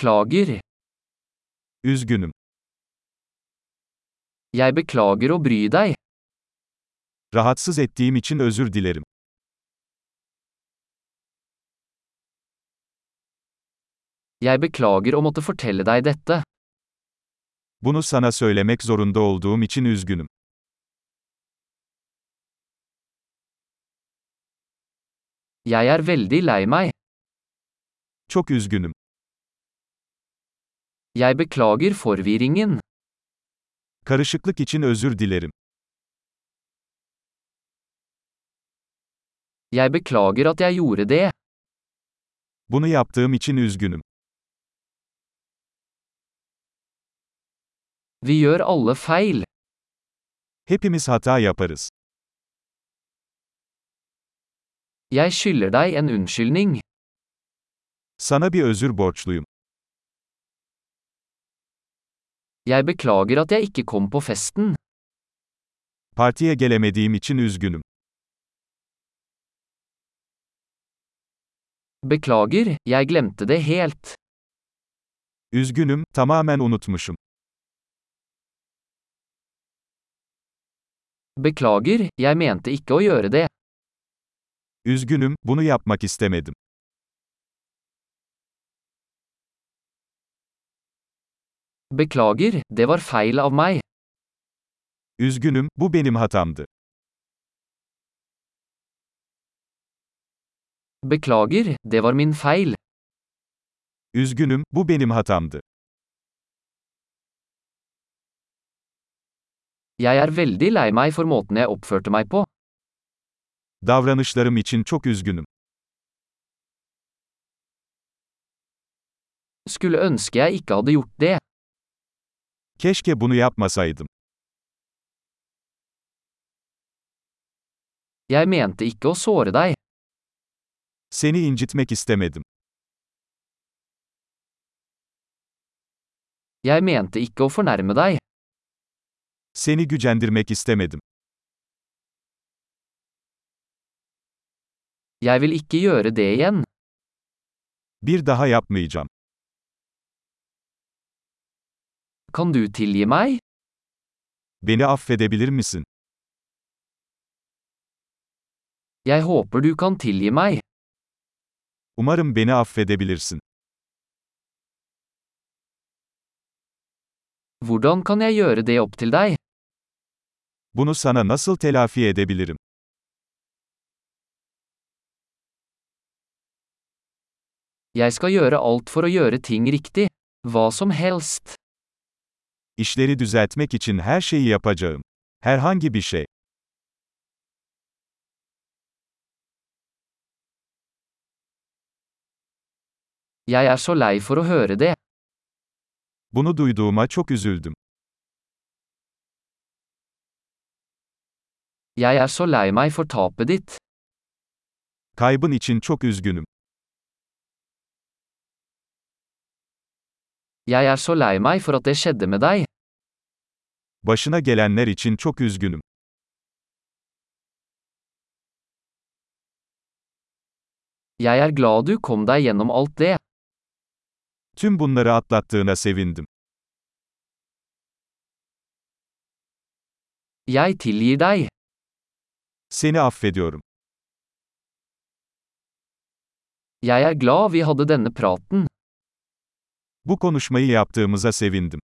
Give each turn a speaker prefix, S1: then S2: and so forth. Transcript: S1: Beklager.
S2: Üzgünüm.
S1: Jeg beklager å bry deg.
S2: Rahatsız ettiğim için özür dilerim.
S1: Jeg beklager å måtte fortelle deg dette.
S2: Bunu sana söylemek zorunda olduğum için üzgünüm.
S1: Jeg er veldig lei meg.
S2: Çok üzgünüm.
S1: Jeg beklager forvirringen.
S2: Karışıklık için özür dilerim.
S1: Jeg beklager at jeg gjorde det.
S2: Bunu yaptığım için üzgünüm.
S1: Vi gjør alle feil.
S2: Hepimiz hata yaparız.
S1: Jeg skylder deg en unnskyldning.
S2: Sana bir özür borçluyum.
S1: Jeg beklager at jeg ikke kom på festen.
S2: Partiye gelemediğim için üzgünüm.
S1: Beklager, jeg glemte det helt.
S2: Üzgünüm, tamamen unutmuşum.
S1: Beklager, jeg mente ikke å gjøre det.
S2: Üzgünüm, bunu yapmak istemedim.
S1: Beklager, det var feil av meg.
S2: Üzgünüm, bu benim hatamdı.
S1: Beklager, det var min feil.
S2: Üzgünüm, bu benim hatamdı.
S1: Jeg er veldig lei meg for måten jeg oppførte meg på.
S2: Davranışlarım için çok üzgünüm.
S1: Skulle ønske jeg ikke hadde gjort det.
S2: Keşke bunu yapmasaydım.
S1: Jeg mente ikke å såre deg.
S2: Seni incitmek istemedim.
S1: Jeg mente ikke å fornærme deg.
S2: Seni gücendirmek istemedim.
S1: Jeg vil ikke gjøre det igjen.
S2: Bir daha yapmayacağım.
S1: Kan du tilgi meg?
S2: Beni affedebilir misin?
S1: Jeg håper du kan tilgi meg.
S2: Umarım beni affedebilirsin.
S1: Hvordan kan jeg gjøre det opp til deg?
S2: Bunu sana nasıl telafi edebilirim?
S1: Jeg skal gjøre alt for å gjøre ting riktig. Hva som helst.
S2: İşleri düzeltmek için her şeyi yapacağım. Herhangi bir şey.
S1: Jeg er så lei for å høre det.
S2: Bunu duyduğuma çok üzüldüm.
S1: Jeg er så lei meg for tapet ditt.
S2: Kaybın için çok üzgünüm.
S1: Jeg er så lei meg for at det skjedde med deg.
S2: Başına gelenler için çok üzgünüm.
S1: Jeg er glad du kom deg gjennom alt det.
S2: Tüm bunları atlattığına sevindim.
S1: Jeg tilgir deg.
S2: Seni affediyorum.
S1: Jeg er glad vi hadde denne praten.
S2: Bu konuşmayı yaptığımıza sevindim.